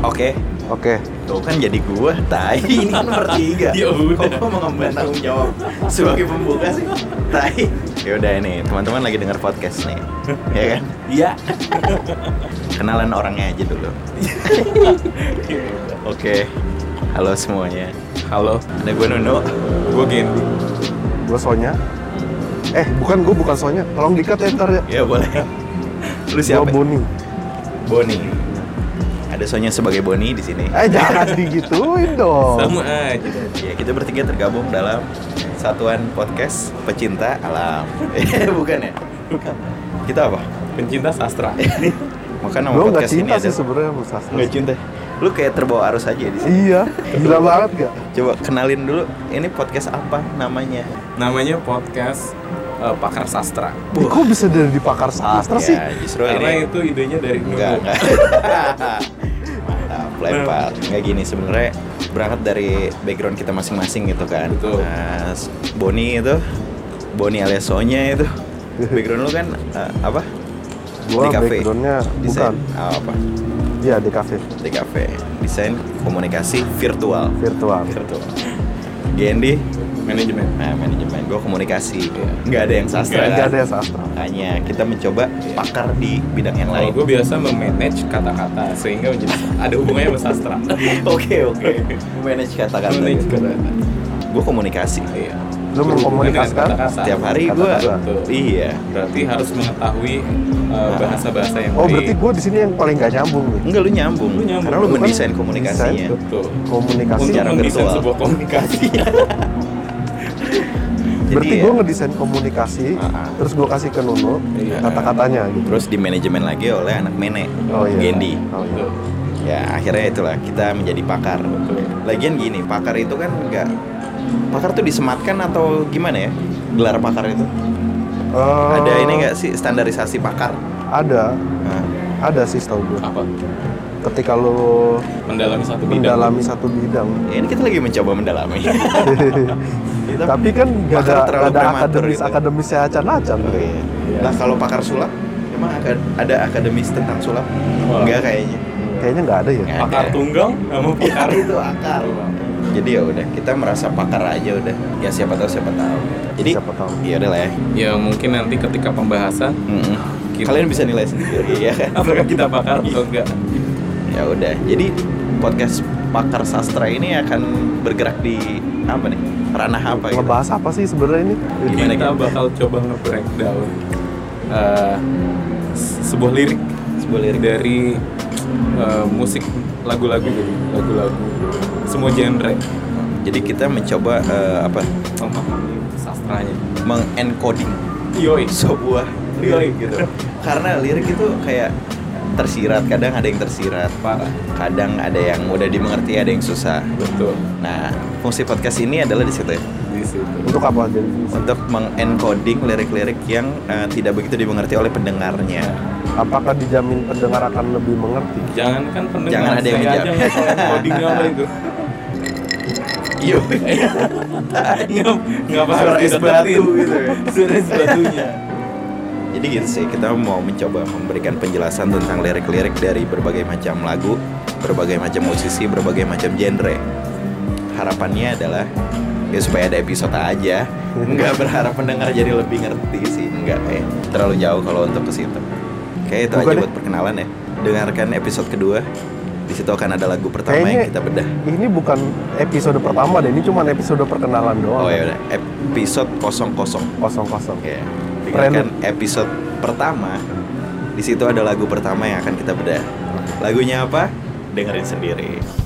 Oke, Oke. tuh kan jadi gua. Tai, ini kan bertiga. Ya udah. Kok gua mengemban tanggung jawab sebagai pembuka sih? Tai. Ya udah ini, teman-teman lagi denger podcast nih. Ya kan? Iya. Kenalan orangnya aja dulu. Oke. Halo semuanya. Halo. Ada gue Nuno. Gue Gendi. Gue Sonya. Eh, bukan gue bukan Sonya. Tolong dikat ya ntar ya. Ya boleh. Lu Gue siapa? Boni. Boni. Ada Sonya sebagai Boni di sini. Eh, jangan digituin dong. Sama aja. Ya, kita bertiga tergabung dalam satuan podcast pecinta alam. Eh, Bukan ya? Kita apa? Pencinta sastra. Makan nama Gue nggak podcast ini cinta ada. sih sebenarnya sama sastra. Nggak cinta. Lu kayak terbawa arus aja di sini. Iya, gila banget gak? Coba kenalin dulu, ini podcast apa namanya? Namanya podcast eh, Pakar Sastra. Ih, kok bisa dari di pakar ya, sastra sih? justru Karena ini. itu idenya dari Nuno. Enggak, enggak. Mantap, lempar. Nah. Enggak gini sebenarnya berangkat dari background kita masing-masing gitu kan. Betul. Nah, Boni itu, Boni alias Sonya itu. Background lu kan eh, apa? Di Gua kafe. backgroundnya Desain bukan. ah, apa? Iya di kafe Di kafe. Desain komunikasi virtual. virtual. Virtual. Gendi, Manajemen. nah, manajemen. Gue komunikasi. Nggak ada yang sastra. Gak kan? ada ya sastra. Makanya kita mencoba pakar di bidang yang lain. Kalau gue Nah, biasa memanage kata-kata sehingga menjadi ada hubungannya sama sastra. Oke oke. Manage kata-kata. Manage kata-kata. Gue komunikasi. Iya. Lu Berhubungan dengan mengkomunikasikan? kata-kata. Setiap hari gue. Kata-kata. Iya. Berarti harus mengetahui Nah. eh, bahasa-bahasa yang Iya. Oh, berarti baik. gue di sini yang paling gak nyambung nih. Enggak lu nyambung. Lu nyambung. Karena lu Lu kan mendesain komunikasinya. desain. Betul. Komunikasi. Untuk Secara mendesain virtual. Iya. sebuah komunikasi. Jadi Berarti ya, gue ngedesain komunikasi, Ah. terus gue kasih ke Nuno Iya. kata-katanya gitu. terus di manajemen lagi oleh anak mene Oh iya. Gendi. Oh iya. Betul. Ya akhirnya itulah kita menjadi pakar. Betul. Lagian gini, pakar itu kan enggak pakar tuh disematkan atau gimana ya? Gelar pakar itu. Eh, Ada ini enggak sih standarisasi pakar? Ada, Nah, ada sih Ah. setahu gue. Apa? Ketika lu Mendalami satu bidang. mendalami satu bidang. ya ini kita lagi mencoba mendalami. Kita- Tapi kan gak Makanya ada, terlalu gak ada prematur akademis gitu. akademisnya acan-acan. Oh, tuh. iya. Lah kalau pakar sulap, emang aka- ada akademis tentang sulap? Wah. Enggak kayaknya. Kayaknya nggak ada ya. Nggak. Pakar Ada. tunggang sama Pakar pakar. Iya, itu akar. Jadi ya udah, kita merasa pakar aja udah. Ya siapa tahu siapa tahu. Jadi Siapa tahu. Iya udah lah ya. Ya mungkin nanti ketika pembahasan Mm-mm. Gitu. Kalian bisa nilai sendiri ya kan. apakah kita pakar atau enggak? Ya udah. Jadi podcast pakar sastra ini akan bergerak di apa nih? Ranah apa gitu? Ngebahas apa sih sebenarnya ini? Gimana, kita Gim? bakal coba nge-breakdown eh, se- sebuah lirik Sebuah lirik. dari eh, musik lagu-lagu gitu, lagu-lagu semua genre Jadi kita mencoba eh, apa? memahami sastranya. Mengencoding Yoi. sebuah lirik gitu. Karena lirik itu kayak tersirat, kadang ada yang tersirat, Parah. kadang ada yang mudah dimengerti, ada yang susah. Betul. Nah, fungsi podcast ini adalah di situ ya, Di situ. Untuk apa aja? untuk mengencoding lirik-lirik yang eh, tidak begitu dimengerti oleh pendengarnya. Apakah dijamin pendengar akan lebih mengerti? Jangan kan pendengar Jangan ada yang saya menjawab. aja nggak tahu codingnya apa itu. Iya, Nggak nggak apa Suara es batu gitu ya. Suara es batunya. Jadi gitu sih, kita mau mencoba memberikan penjelasan tentang lirik-lirik dari berbagai macam lagu, berbagai macam musisi, berbagai macam genre. Harapannya adalah ya supaya ada episode aja. Nggak berharap pendengar jadi lebih ngerti sih, nggak eh terlalu jauh kalau untuk ke situ. Oke, itu Bukan aja ya? buat perkenalan ya. Dengarkan episode kedua. Di situ akan ada lagu pertama yang Kayaknya- kita bedah. Ini bukan episode pertama deh, ini cuma episode perkenalan doang. Oh ya udah, episode 00. Kosong-kosong. Ya, dengarkan episode pertama. Di situ ada lagu pertama yang akan kita bedah. Lagunya apa? Dengerin sendiri.